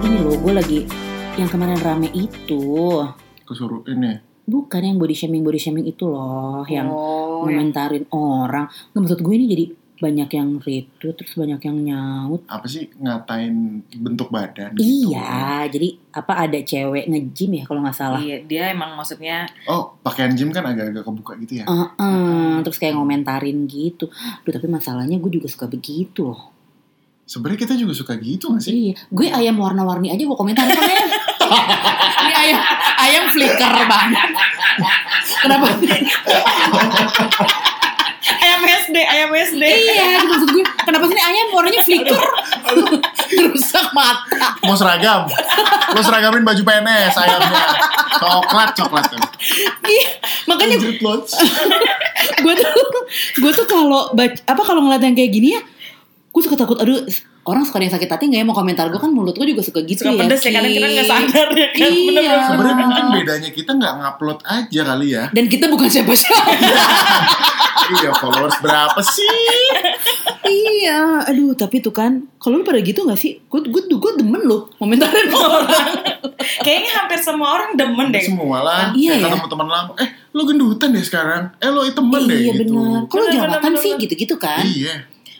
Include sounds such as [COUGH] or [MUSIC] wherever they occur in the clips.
Eh, gue lagi yang kemarin rame itu kesuruin ya bukan yang body shaming body shaming itu loh yang oh, iya. ya. ngomentarin orang nggak maksud gue ini jadi banyak yang retweet terus banyak yang nyaut apa sih ngatain bentuk badan gitu? iya jadi apa ada cewek nge-gym ya kalau nggak salah Iya, dia emang maksudnya oh pakaian gym kan agak-agak kebuka gitu ya Eh, eh, terus kayak ngomentarin gitu Duh tapi masalahnya gue juga suka begitu loh sebenarnya kita juga suka gitu gak sih Iya, gue ayam warna-warni aja gue komentarin men. [LAUGHS] Ini ayam, ayam flicker banget. Kenapa? [LAUGHS] ayam SD, ayam SD. iya, gitu maksud gue. Kenapa sih ini ayam warnanya flicker? Rusak mata. mau seragam mau seragamin baju PNS ayamnya coklat coklat tuh Iya, makanya Jrit lots. gue tuh gue tuh kalau bac- apa kalau ngeliat yang kayak gini ya, gue suka takut. Aduh, orang suka ada yang sakit hati nggak ya mau komentar gue kan mulut gue juga suka gitu Suka ya. pedes ya, kadang kita Ki. nggak sadar ya kan. Iya. Bener-bener. sebenarnya mungkin bedanya kita nggak ngupload aja kali ya Dan kita bukan siapa-siapa. iya followers berapa sih iya, aduh tapi tuh kan kalau lu pada gitu nggak sih? Gue gue gue demen loh komentarin orang. Kayaknya hampir semua orang demen deh. semua lah Iya kata ya. teman-teman lama eh lo gendutan deh sekarang eh lo iteman deh iya gitu benar. Kalau Benar, jabatan benar, sih benar. gitu-gitu kan. iya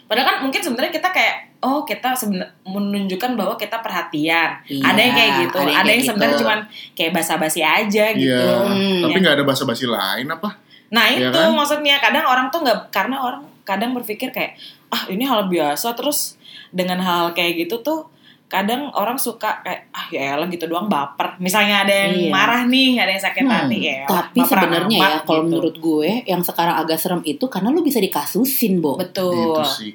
Padahal kan mungkin sebenarnya kita kayak oh kita sebenar- menunjukkan bahwa kita perhatian. Iya, ada yang kayak gitu, ada ada yang yang, kayak sebenarnya gitu. cuman kayak basa-basi aja gitu. iya Hmm, tapi ya. nggak ada basa-basi lain apa Nah Iya itu kan? maksudnya kadang orang tuh nggak karena orang kadang berpikir kayak ah ini hal biasa terus dengan hal kayak gitu tuh kadang orang suka kayak ah ya elah gitu doang baper misalnya ada Iya. yang marah nih ada yang sakit Hmm, hati ya elah, Tapi baperan sebenarnya amat ya kalau gitu. menurut gue yang sekarang agak serem itu karena lu bisa dikasusin, Bo. betul itu Gitu sih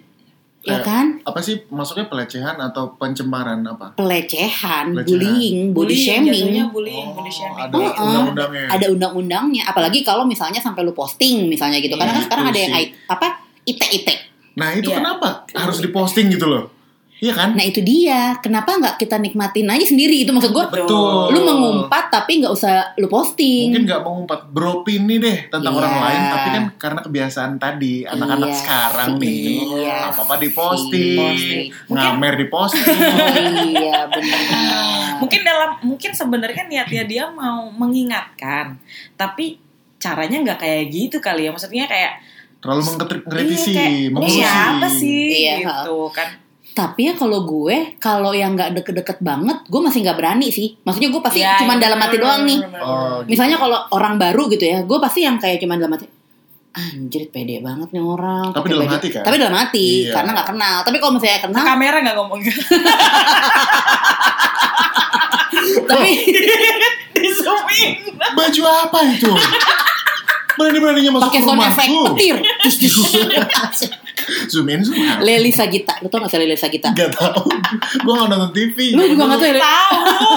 Eh, Ya kan? apa sih maksudnya pelecehan atau pencemaran apa Pelecehan, Pelecehan. bullying, body Bullying, shaming. jatuhnya bullying body shaming ada Oh, oh. undang-undangnya Ada undang-undangnya, apalagi kalau misalnya sampai lu posting misalnya gitu. Karena kan Iya, sekarang itu ada yang sih. I- apa? ITE-ITE. nah itu Iya. kenapa harus diposting gitu loh iya kan Nah, itu dia. Kenapa nggak kita nikmatin aja sendiri? Itu maksud gue. betul Lu mengumpat tapi nggak usah lu mungkin posting. nggak mengumpat beropini deh tentang Iya. orang lain tapi kan karena kebiasaan tadi anak-anak Iya sekarang sih, nih iya apa apa diposting sih. ngamer diposting Oh, iya, benar. mungkin dalam mungkin sebenarnya niatnya dia mau mengingatkan tapi caranya nggak kayak gitu kali ya maksudnya kayak terlalu mengkritisi iya, kayak, ini mengurusi siapa sih Iya, gitu kan Tapi ya kalau gue, kalau yang nggak deket-deket banget, gue masih nggak berani sih. Maksudnya gue pasti Ya, cuman iya, dalam hati bener, doang nih. bener, bener. Oh, gitu. Misalnya kalau orang baru gitu ya, gue pasti yang kayak cuman dalam hati. Anjir pede banget nih orang. Tapi Pakai dalam baju- hati kan? Tapi dalam hati, Iya. karena nggak kenal. Tapi kalau misalnya kenal, kamera nggak ngomong [LAUGHS] tapi di zoom in baju apa itu berani-beraninya masuk [LAUGHS] pakai ke sound effect rumahku petir. [LAUGHS] zoom in zoom out Leli Sagita, lu tau gak sih Leli Sagita? Gak tau Gue gak nonton TV Lu juga gak tau ya? Leli? tahu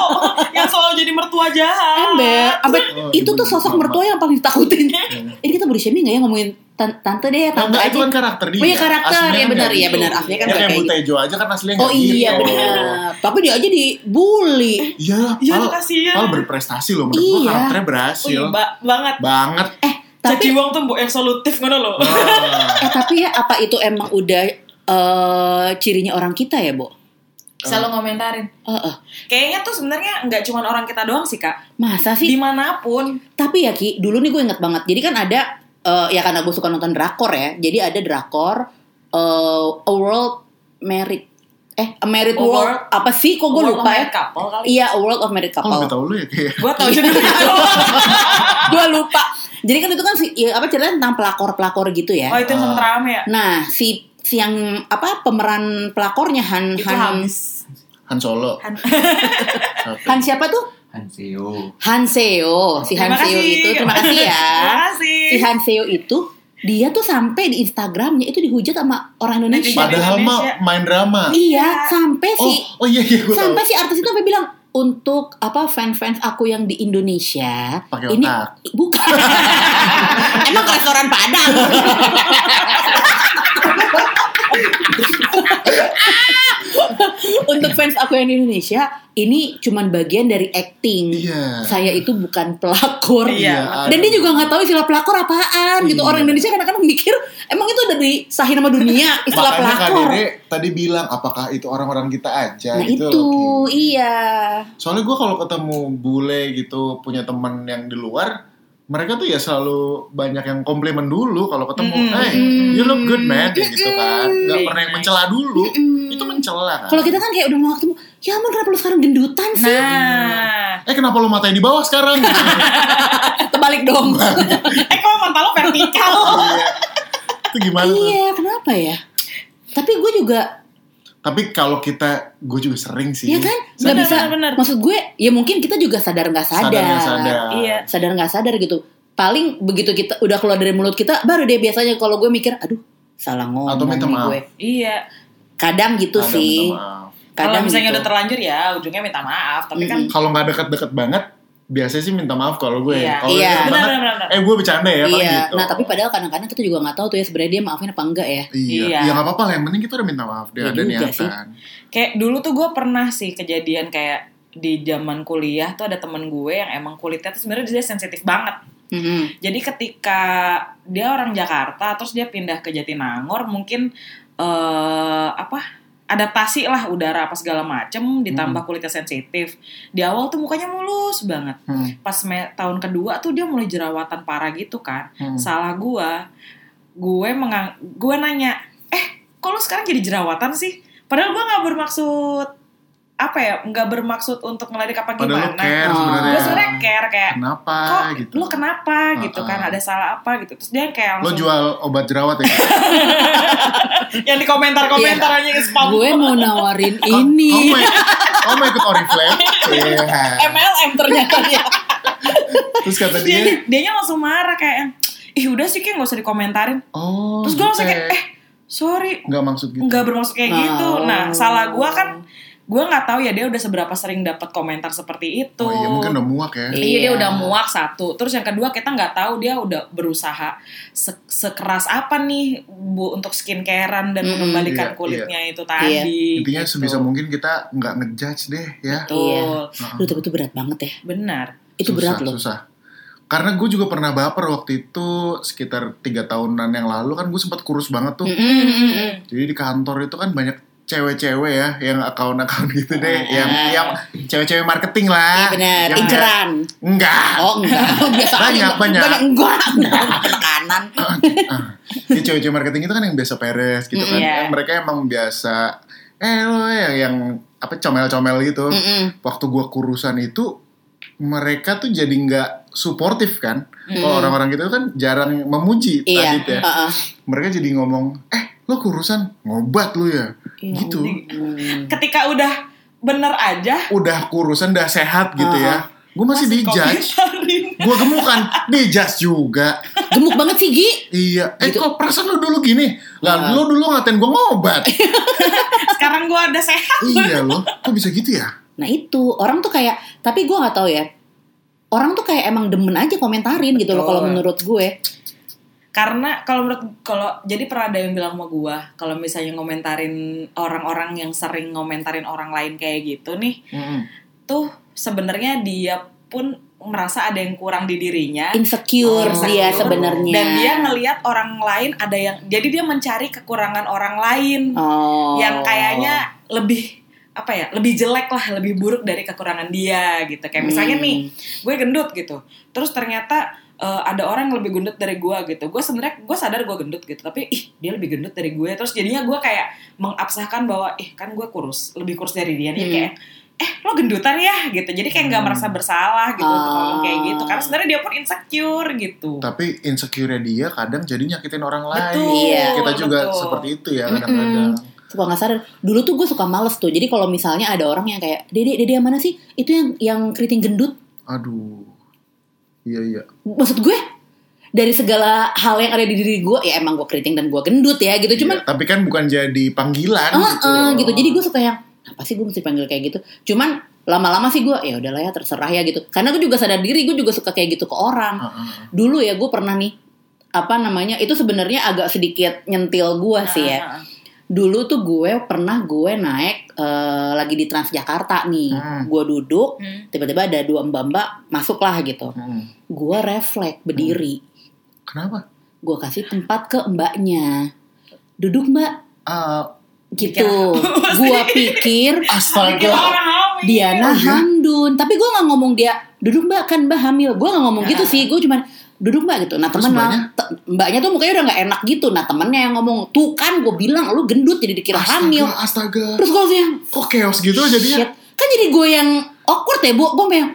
yang selalu jadi mertua jahat Ember, Ember. Oh, itu tuh ibu-ibu sosok lama. mertua yang paling ditakutin. Iya. [LAUGHS] Ini kita body shaming gak ya ngomongin tan- tante deh, Nah, tante enggak, itu aja. kan karakter dia Oh iya, karakter. Aslinya Iya, kan benar, kayak iya, gitu. benar. Aslinya kan Ya, kayak kayak gitu. Buta Hijau aja kan aslinya Oh gak iya gitu. benar. Tapi dia aja dibully. Iya lah Iya, Pal, kasihan. Pal berprestasi loh Menurut gue Iya. karakternya berhasil Wih, ba- banget Banget [LAUGHS] Eh jadi tapi wong tuh mbok eksolutif ngono loh Wah. eh, tapi ya apa itu emang udah eh, cirinya orang kita ya, Bo? selalu ngomentarin Eh, eh. kayaknya tuh sebenarnya nggak cuma orang kita doang sih kak Masa sih? dimanapun Tapi ya Ki, dulu nih gue inget banget. Jadi kan ada eh, ya karena gue suka nonton drakor ya. Jadi ada drakor eh, A World Married eh A Married A World, World- apa sih kok gue World lupa of ya? Married Couple kali. Iya, A World of Married Oh Couple. lebih tau lu ya kayak gue tau jadi gitu [LAUGHS] Iya. gue lupa. Jadi kan itu kan si, ya, apa ceritanya tentang pelakor-pelakor gitu ya. oh itu yang sempet rame ya Nah, si si yang apa pemeran pelakornya Han itu Han habis Han Solo [LAUGHS] Han- Han siapa tuh? Hanseo. Hanseo. Si Terima Hanseo kasih. itu terima kasih ya. [LAUGHS] terima kasih si Hanseo itu dia tuh sampai di Instagramnya itu dihujat sama orang Indonesia. Netizen. Padahal mah Indonesia. main drama Iya, sampai si Oh oh iya iya gue tau sampai si artis itu sampai bilang untuk apa fans-fans aku yang di Indonesia Pakai ini otak. bukan [LAUGHS] emang ke restoran Padang [LAUGHS] untuk fans aku yang di Indonesia ini cuman bagian dari acting Iya. saya itu bukan pelakor Iya. Iya. dan dia juga nggak tahu istilah pelakor apaan gitu orang Indonesia kadang-kadang mikir Emang itu udah disahin sama dunia istilah Makanya Kak pelakor. Dede tadi bilang apakah itu orang-orang kita aja Nah gitu itu, loh, Ki. iya. Soalnya gue kalau ketemu bule gitu punya teman yang di luar, mereka tuh ya selalu banyak yang komplimen dulu kalau ketemu, Mm-mm. hey you look good man kayak gitu kan, nggak pernah yang mencela dulu, Mm. itu mencela kan. Kalau kita kan kayak udah mau ketemu, ya ampun kenapa lu sekarang gendutan sih? Nah, Eh kenapa lu matanya di bawah [LAUGHS] sekarang? Gitu. Terbalik [LAUGHS] dong. eh kok mantan lo vertikal? Iya. itu gimana? tuh? iya, kenapa ya? Tapi gue juga, Tapi kalau kita, gue juga sering sih. ya kan, nggak Bener, bisa. bener, bener. Maksud gue, ya mungkin kita juga sadar nggak sadar, Sadar nggak sadar. Iya. sadar nggak sadar gitu. Paling begitu kita udah keluar dari mulut kita, baru deh biasanya kalau gue mikir, aduh salah ngomong Atau minta nih maaf. gue. Iya. Kadang gitu Ada, sih. minta maaf. Kalau Kadang misalnya gitu. udah terlanjur ya ujungnya minta maaf, tapi kan Kalau nggak deket-deket banget, biasanya sih minta maaf kalau gue. Iya. Kalau Iya. deket benar banget, benar benar. benar. eh gue bercanda ya paling Iya, gitu. nah tapi padahal kadang-kadang kita juga nggak tahu tuh ya sebenarnya dia maafin apa enggak ya. Iya, Iya. Ya ya nggak apa-apa lah. Yang penting kita udah minta maaf dia Iya ada juga niatan. Kayak dulu tuh gue pernah sih kejadian kayak di zaman kuliah tuh ada temen gue yang emang kulitnya tuh sebenarnya dia sensitif banget. Mm-mm. Jadi ketika dia orang Jakarta terus dia pindah ke Jatinangor mungkin eh apa? adaptasi lah udara apa segala macem Mm. ditambah kulitnya sensitif di awal tuh mukanya mulus banget Hmm, pas me- tahun kedua tuh dia mulai jerawatan parah gitu kan hmm. salah gua gue mengang gue nanya eh kok lu sekarang jadi jerawatan sih padahal gua nggak bermaksud apa ya nggak bermaksud untuk ngelirik apa Padahal lu gimana care Oh. sebenarnya. gue sebenarnya care kayak Kenapa kok gitu? lu kenapa gitu kan Uh-uh. ada salah apa gitu terus dia kayak Lo langsung jual obat jerawat [LAUGHS] ya? yang di komentar Iya. komentar aja spam Gue mau nawarin Kok- Kok ini. mau ikut- kok mau ikut Oriflame? [LAUGHS] Iya. MLM ternyata dia. Terus kata terus dia dia, dianya langsung marah kayak ih udah sih kayak nggak usah dikomentarin oh terus gue langsung jutek. kayak eh sorry Nggak maksud gitu. nggak bermaksud kayak gitu. Oh. Nah, salah gua kan gua nggak tahu ya dia udah seberapa sering dapat komentar seperti itu. Oh iya mungkin udah muak ya. Iya. Iya, dia udah muak satu. Terus yang kedua kita nggak tahu dia udah berusaha se- sekeras apa nih bu untuk skincarean dan Mm-mm. mengembalikan Iya, kulitnya itu tadi. Intinya gitu. sebisa mungkin kita nggak ngejudge deh ya. Betul, Aduh, tapi itu berat banget ya. benar. Itu susah, berat loh. Susah. Karena gue juga pernah baper waktu itu sekitar tiga tahunan yang lalu kan gue sempat kurus banget tuh. Mm-mm, mm-mm. Jadi di kantor itu kan banyak cewek-cewek ya yang account-account gitu deh, yang yang cewek-cewek marketing Ah. Iya lah. benar, Yang- inceran. Enggak. Oh [LAUGHS] enggak, biasa aja. Ah. Banyak, banyak. [LAUGHS] enggak, enggak, kanan. Ya, cewek-cewek marketing itu kan yang biasa peres gitu kan. Mm, iya. Kan Mereka emang biasa eh lo yang, yang apa comel-comel gitu. [LAUGHS] Mm-mm. Waktu gua kurusan itu mereka tuh jadi nggak suportif kan. Kalau Mm. orang-orang gitu kan jarang memuji Iya, Tadit ya. heeh. Mereka jadi ngomong, "Eh, lo kurusan ngobat lo ya." Iya. gitu. Hmm. Ketika udah bener aja Udah kurusan udah sehat gitu Uh-uh. ya. Gue masih, di dijudge. komentarin. Gue gemukan, dijudge juga. Gemuk banget sih Gi. Iya. Eh, Gitu. kok perasaan lo dulu gini? Lah, Uh. lo dulu ngatain gue ngobat. Iya, Sekarang gua ada sehat. iya loh, kok bisa gitu ya? Nah itu orang tuh kayak, tapi gue nggak tahu ya. Orang tuh kayak emang demen aja komentarin gitu loh Betul. kalau menurut gue. karena kalau menurut kalau jadi pernah ada yang bilang sama gua kalau misalnya ngomentarin orang-orang yang sering ngomentarin orang lain kayak gitu nih tuh sebenarnya dia pun merasa ada yang kurang di dirinya Iya. Insecure Oh. dia sebenarnya. dan dia ngelihat orang lain ada yang jadi dia mencari kekurangan orang lain oh. yang kayaknya lebih apa ya lebih jelek lah lebih buruk dari kekurangan dia gitu kayak misalnya Hmm. nih gue gendut gitu terus ternyata eh, ada orang yang lebih gendut dari gue gitu gue sebenarnya gue sadar gue gendut gitu tapi ih dia lebih gendut dari gue terus jadinya gue kayak mengabsahkan bahwa ih kan gue kurus lebih kurus dari dia nih Hmm. kayak eh lo gendutan ya gitu jadi kayak nggak Hmm. merasa bersalah gitu untuk ngomong kayak Ah. gitu karena sebenarnya dia pun insecure gitu Tapi insecure dia kadang jadi nyakitin orang lain. betul Iya. Kita juga betul. seperti itu ya kadang-kadang. suka nggak sadar dulu tuh gue suka males tuh jadi kalau misalnya ada orang yang kayak dede dede yang mana sih itu yang yang keriting gendut Aduh. Iya iya. maksud gue dari segala hal yang ada di diri gue ya emang gue keriting dan gue gendut ya gitu cuman Iya, Tapi kan bukan jadi panggilan eh, gitu. eh, gitu jadi gue suka yang apa sih gue mesti panggil kayak gitu cuman lama-lama sih gue ya udahlah ya terserah ya gitu karena gue juga sadar diri gue juga suka kayak gitu ke orang Heeh. dulu ya gue pernah nih apa namanya itu sebenarnya agak sedikit nyentil gue sih ya Ah, ah, ah. dulu tuh gue pernah gue naik eh, lagi di Transjakarta nih Hmm. gue duduk Hmm. tiba-tiba ada dua mbak-mbak masuklah gitu Heeh. gue refleks berdiri Kenapa? gue kasih tempat ke mbaknya duduk mbak Ah, [LAUGHS] gitu gue pikir Dikira astaga. Iya. orang hamil. Diana Hamdun tapi gue nggak ngomong dia duduk mbak kan mbak hamil gue nggak ngomong gitu sih gue cuman duduk mbak gitu nah Iya. Terus temen mbaknya? te- mbaknya tuh mukanya udah nggak enak gitu nah temennya yang ngomong tuh kan gue bilang lu gendut jadi dikira Astaga, hamil Astaga. terus gue langsung yang Kok chaos gitu Shit. jadinya? kan jadi gue yang awkward ya bu gue yang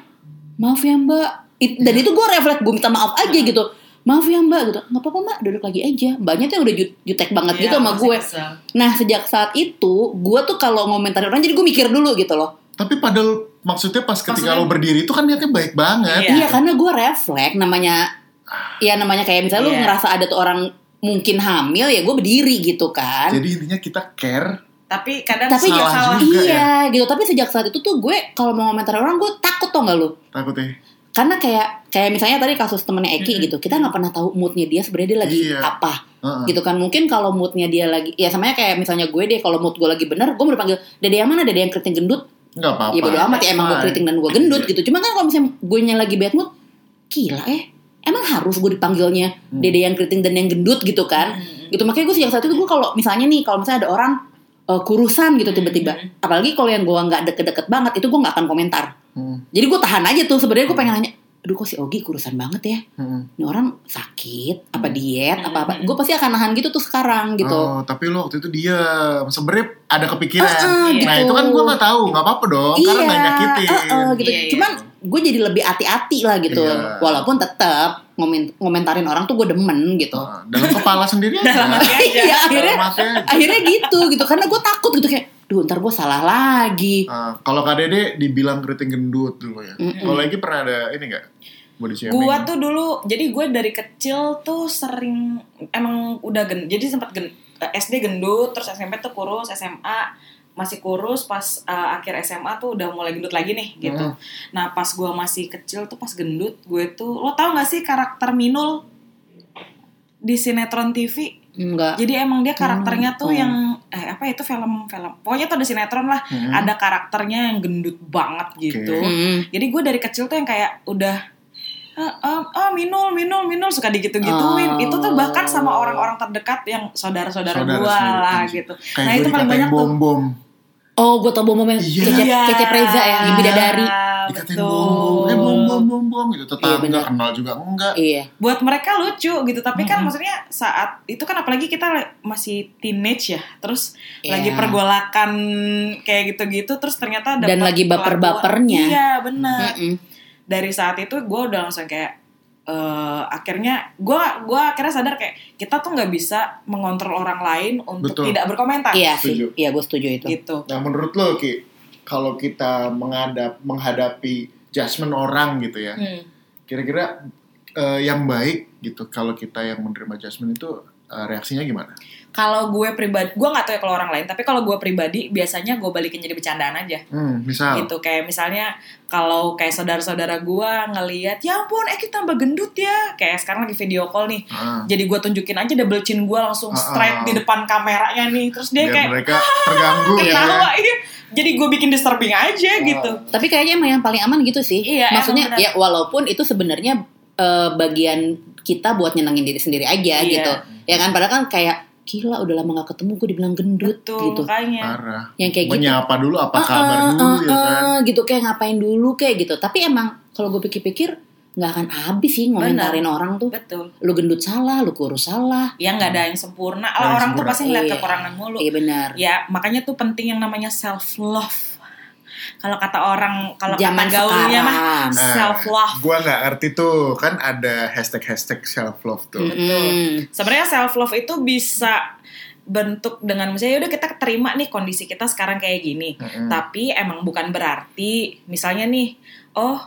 maaf ya mbak It- Iya. dan itu gue refleks gue minta maaf aja gitu maaf ya mbak gitu nggak apa-apa mbak duduk lagi aja mbaknya tuh yang udah jut- jutek banget Iya, gitu sama masih gue kesel. nah sejak saat itu gue tuh kalau ngomentarin orang jadi gue mikir dulu gitu loh Tapi padahal maksudnya pas ketika Maksudnya- lo berdiri itu kan niatnya baik banget. Iya. iya karena gue refleks namanya ya namanya kayak misalnya lu Iya. ngerasa ada tuh orang mungkin hamil ya gue berdiri gitu kan Jadi intinya kita care. Tapi kadang tapi suka salah salah. ya. juga iya gitu tapi sejak saat itu tuh gue kalau mau ngomentarin orang gue takut tau gak lu Takutnya. karena kayak kayak misalnya tadi kasus temennya Eki gitu kita nggak pernah tahu moodnya dia sebenarnya dia lagi Iya. apa Heeh. gitu kan mungkin kalau moodnya dia lagi ya samanya kayak misalnya gue deh kalau mood gue lagi bener gue udah panggil dede yang mana dede yang keriting gendut Nggak apa-apa. ya Gitu bodo amat ya emang gue Fine. keriting dan gue gendut Iya. gitu cuma kan kalau misalnya gue nya lagi bad mood gila eh emang harus gue dipanggilnya Hmm. dede yang keriting dan yang gendut gitu kan Hmm. gitu makanya gue sejak saat itu gue kalau misalnya nih kalau misalnya ada orang eh, kurusan gitu tiba-tiba apalagi kalau yang gue nggak deket-deket banget itu gue nggak akan komentar Hmm, jadi gue tahan aja tuh sebenarnya gue pengen nanya, aduh kok si Ogi kurusan banget ya? hmm. Ini orang sakit, apa diet, Hmm. apa apa? Gue pasti akan nahan gitu tuh sekarang gitu. Oh, tapi lo waktu itu diam. Sebenarnya ada kepikiran. Ah, ah, Nah gitu. itu kan gue nggak tahu, nggak apa-apa dong, karena ya. nggak nyakitin. eh, eh, gitu. Iya, iya. Cuman gue jadi lebih hati-hati lah gitu. Iya. Walaupun tetap ngomen- ngomentarin orang tuh gue demen gitu. Nah, dalam kepala sendiri aja. Dalam hati aja. Iya akhirnya Dalam hati aja. akhirnya gitu gitu karena gue takut gitu kayak, duh ntar gue salah lagi. Ah, kalau KDD dibilang keriting gendut dulu ya. Mm-mm. Kalau lagi pernah ada ini nggak body shaming? Hmm. Gua tuh dulu, jadi gue dari kecil tuh sering emang udah gen, jadi sempat gen, SD gendut, terus SMP tuh kurus, SMA masih kurus, pas uh, akhir SMA tuh udah mulai gendut lagi nih gitu. Hmm. Nah pas gue masih kecil tuh pas gendut, gue tuh lo tau gak sih karakter Minul di sinetron TV? Enggak. Jadi emang dia karakternya tuh Hmm. yang eh apa itu film-film, pokoknya tuh ada sinetron lah, Mm-mm. ada Nah, karakternya yang gendut banget gitu. Iya. Hmm. Jadi gue dari kecil tuh yang kayak udah "Ah, ah, ah, minul minul minul suka digitu-gituin. Oh. Itu tuh bahkan sama orang-orang terdekat yang saudara-saudara Saudara gue sendiri. lah gitu. Kayak nah, gue itu paling dikatain banyak tuh. bom-bom. Oh, gue tau bom momen Iya. Cecep, Cecep Reza yang Iya, ya, bidadari. Dikatain betul. bom-bom, eh bom-bom, bom-bom gitu. Iya, Tetangga bener. kenal juga enggak. Iya. Buat mereka lucu gitu, tapi kan maksudnya saat itu kan apalagi kita le- masih teenage ya, terus Iya. lagi pergolakan kayak gitu-gitu, terus ternyata Dan dapat lagi perlakuan- baper-bapernya. Iya benar. Mm-mm. dari saat itu gue udah langsung kayak eh, akhirnya gue gua akhirnya sadar kayak kita tuh nggak bisa mengontrol orang lain untuk Betul. tidak berkomentar Iya sih. Setuju. Iya gue setuju itu. gitu Nah menurut lo Ki, kalau kita menghadap menghadapi judgement orang gitu ya, kira-kira eh, yang baik gitu kalau kita yang menerima judgement itu eh, reaksinya gimana? kalau gue pribadi gue nggak tahu ya kalau orang lain tapi kalau gue pribadi biasanya gue balikin jadi bercandaan aja Hmm, misal. gitu kayak misalnya kalau kayak saudara-saudara gue ngelihat ya ampun eh kita tambah gendut ya kayak sekarang lagi video call nih Ah, jadi gue tunjukin aja double chin gue langsung Ah, ah. straight di depan kameranya nih terus dia biar kayak mereka "Ah, terganggu ya. Oh, ketawa iya jadi gue bikin disturbing aja gitu Tapi kayaknya emang yang paling aman gitu sih. Iya, Maksudnya emang benar. ya walaupun itu sebenarnya eh, bagian kita buat nyenangin diri sendiri aja Iya. gitu. Ya kan padahal kan kayak gila udah lama gak ketemu gue dibilang gendut Betul, gitu. makanya. Parah. Yang kayak gitu. Menyapa dulu apa "Ah, kabar ah, dulu ah, ya kan. ah," gitu kayak ngapain dulu kayak gitu. Tapi emang kalau gue pikir-pikir nggak akan habis sih ngomentarin orang tuh. Betul. Lu gendut salah, lu kurus salah. Ya nggak ada yang sempurna. Nggak Lah ada orang tuh sempurna. pasti ngeliat Iya. kekurangan mulu. Iya benar. Ya makanya tuh penting yang namanya self love. Kalau kata orang, kalau Zaman kata gaulnya mah sekarang. self love. Gue Nah, nggak ngerti tuh kan ada hashtag hashtag self love tuh. Hmm. Mm-mm. Sebenarnya self love itu bisa bentuk dengan misalnya yaudah kita terima nih kondisi kita sekarang kayak gini. Mm-mm. Tapi emang bukan berarti misalnya nih, oh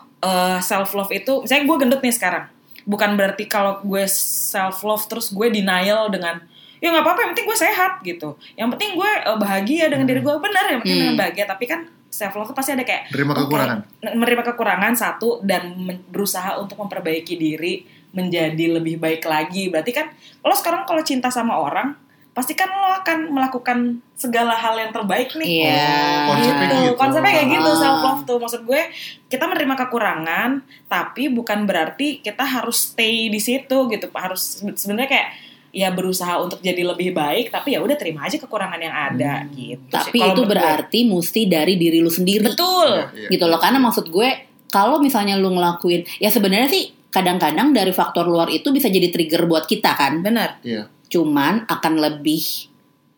self love itu misalnya gue gendut nih sekarang. Bukan berarti kalau gue self love terus gue denial dengan ya nggak apa-apa yang penting gue sehat gitu. Yang penting gue eh, bahagia dengan diri gue benar yang penting Hmm. dengan bahagia. Tapi kan self love itu pasti ada kayak Terima oke, kekurangan. menerima kekurangan satu dan men- berusaha untuk memperbaiki diri menjadi lebih baik lagi. Berarti kan lo sekarang kalau cinta sama orang pasti kan lo akan melakukan segala hal yang terbaik nih Iya. Oh, konsepnya gitu. gitu. Konsepnya kayak gitu Ah. self love tuh. Maksud gue kita menerima kekurangan tapi bukan berarti kita harus stay di situ gitu. Harus sebenarnya kayak ya berusaha untuk jadi lebih baik tapi ya udah terima aja kekurangan yang ada gitu. sih. Hmm. Tapi Kalau itu menurut gue. berarti mesti dari diri lu sendiri. betul. Iya, iya. gitu loh karena maksud gue kalau misalnya lu ngelakuin ya sebenarnya sih kadang-kadang dari faktor luar itu bisa jadi trigger buat kita kan Benar. Iya. cuman akan lebih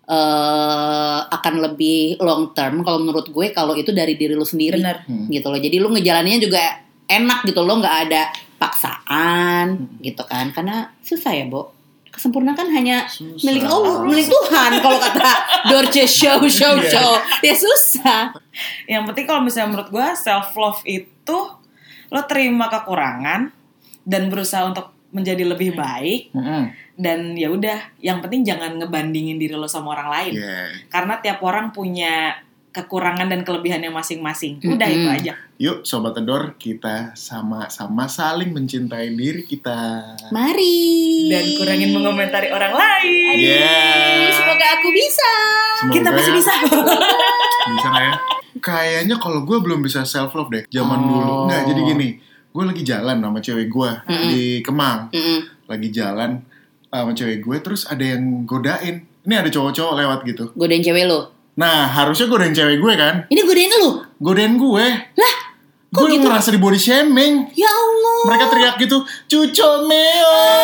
eh akan lebih long term kalau menurut gue kalau itu dari diri lu sendiri Benar. Hmm. gitu loh jadi lu ngejalaninnya juga enak gitu loh nggak ada paksaan gitu kan karena susah ya Bo kesempurnaan kan hanya Susah. milik Allah milik Tuhan kalau kata Dorce show show Iya. show ya susah Yang penting kalau misalnya menurut gue self love itu lo terima kekurangan dan berusaha untuk menjadi lebih baik Mm-mm. dan ya udah yang penting jangan ngebandingin diri lo sama orang lain. Yeah. karena tiap orang punya kekurangan dan kelebihannya masing-masing. Udah Mm-mm. itu aja. Yuk Sobat Edor, kita sama-sama saling mencintai diri kita. mari Dan kurangin mengomentari orang lain. Yeah. Semoga aku bisa. Semoga Kita masih ya. bisa. Bisa nggak ya? Kayaknya kalau gue belum bisa self love deh, zaman Oh. dulu. Nggak, jadi gini, gue lagi jalan sama cewek gue di Kemang, lagi jalan sama cewek gue, terus ada yang godain. Ini ada cowok-cowok lewat gitu. Godain cewek lo. Nah, harusnya godain cewek gue kan? Ini godain lu. Godain gue. Lah, gue gitu? ngerasa di body shaming. Ya Allah. Oh, Mereka teriak gitu, cuco meo.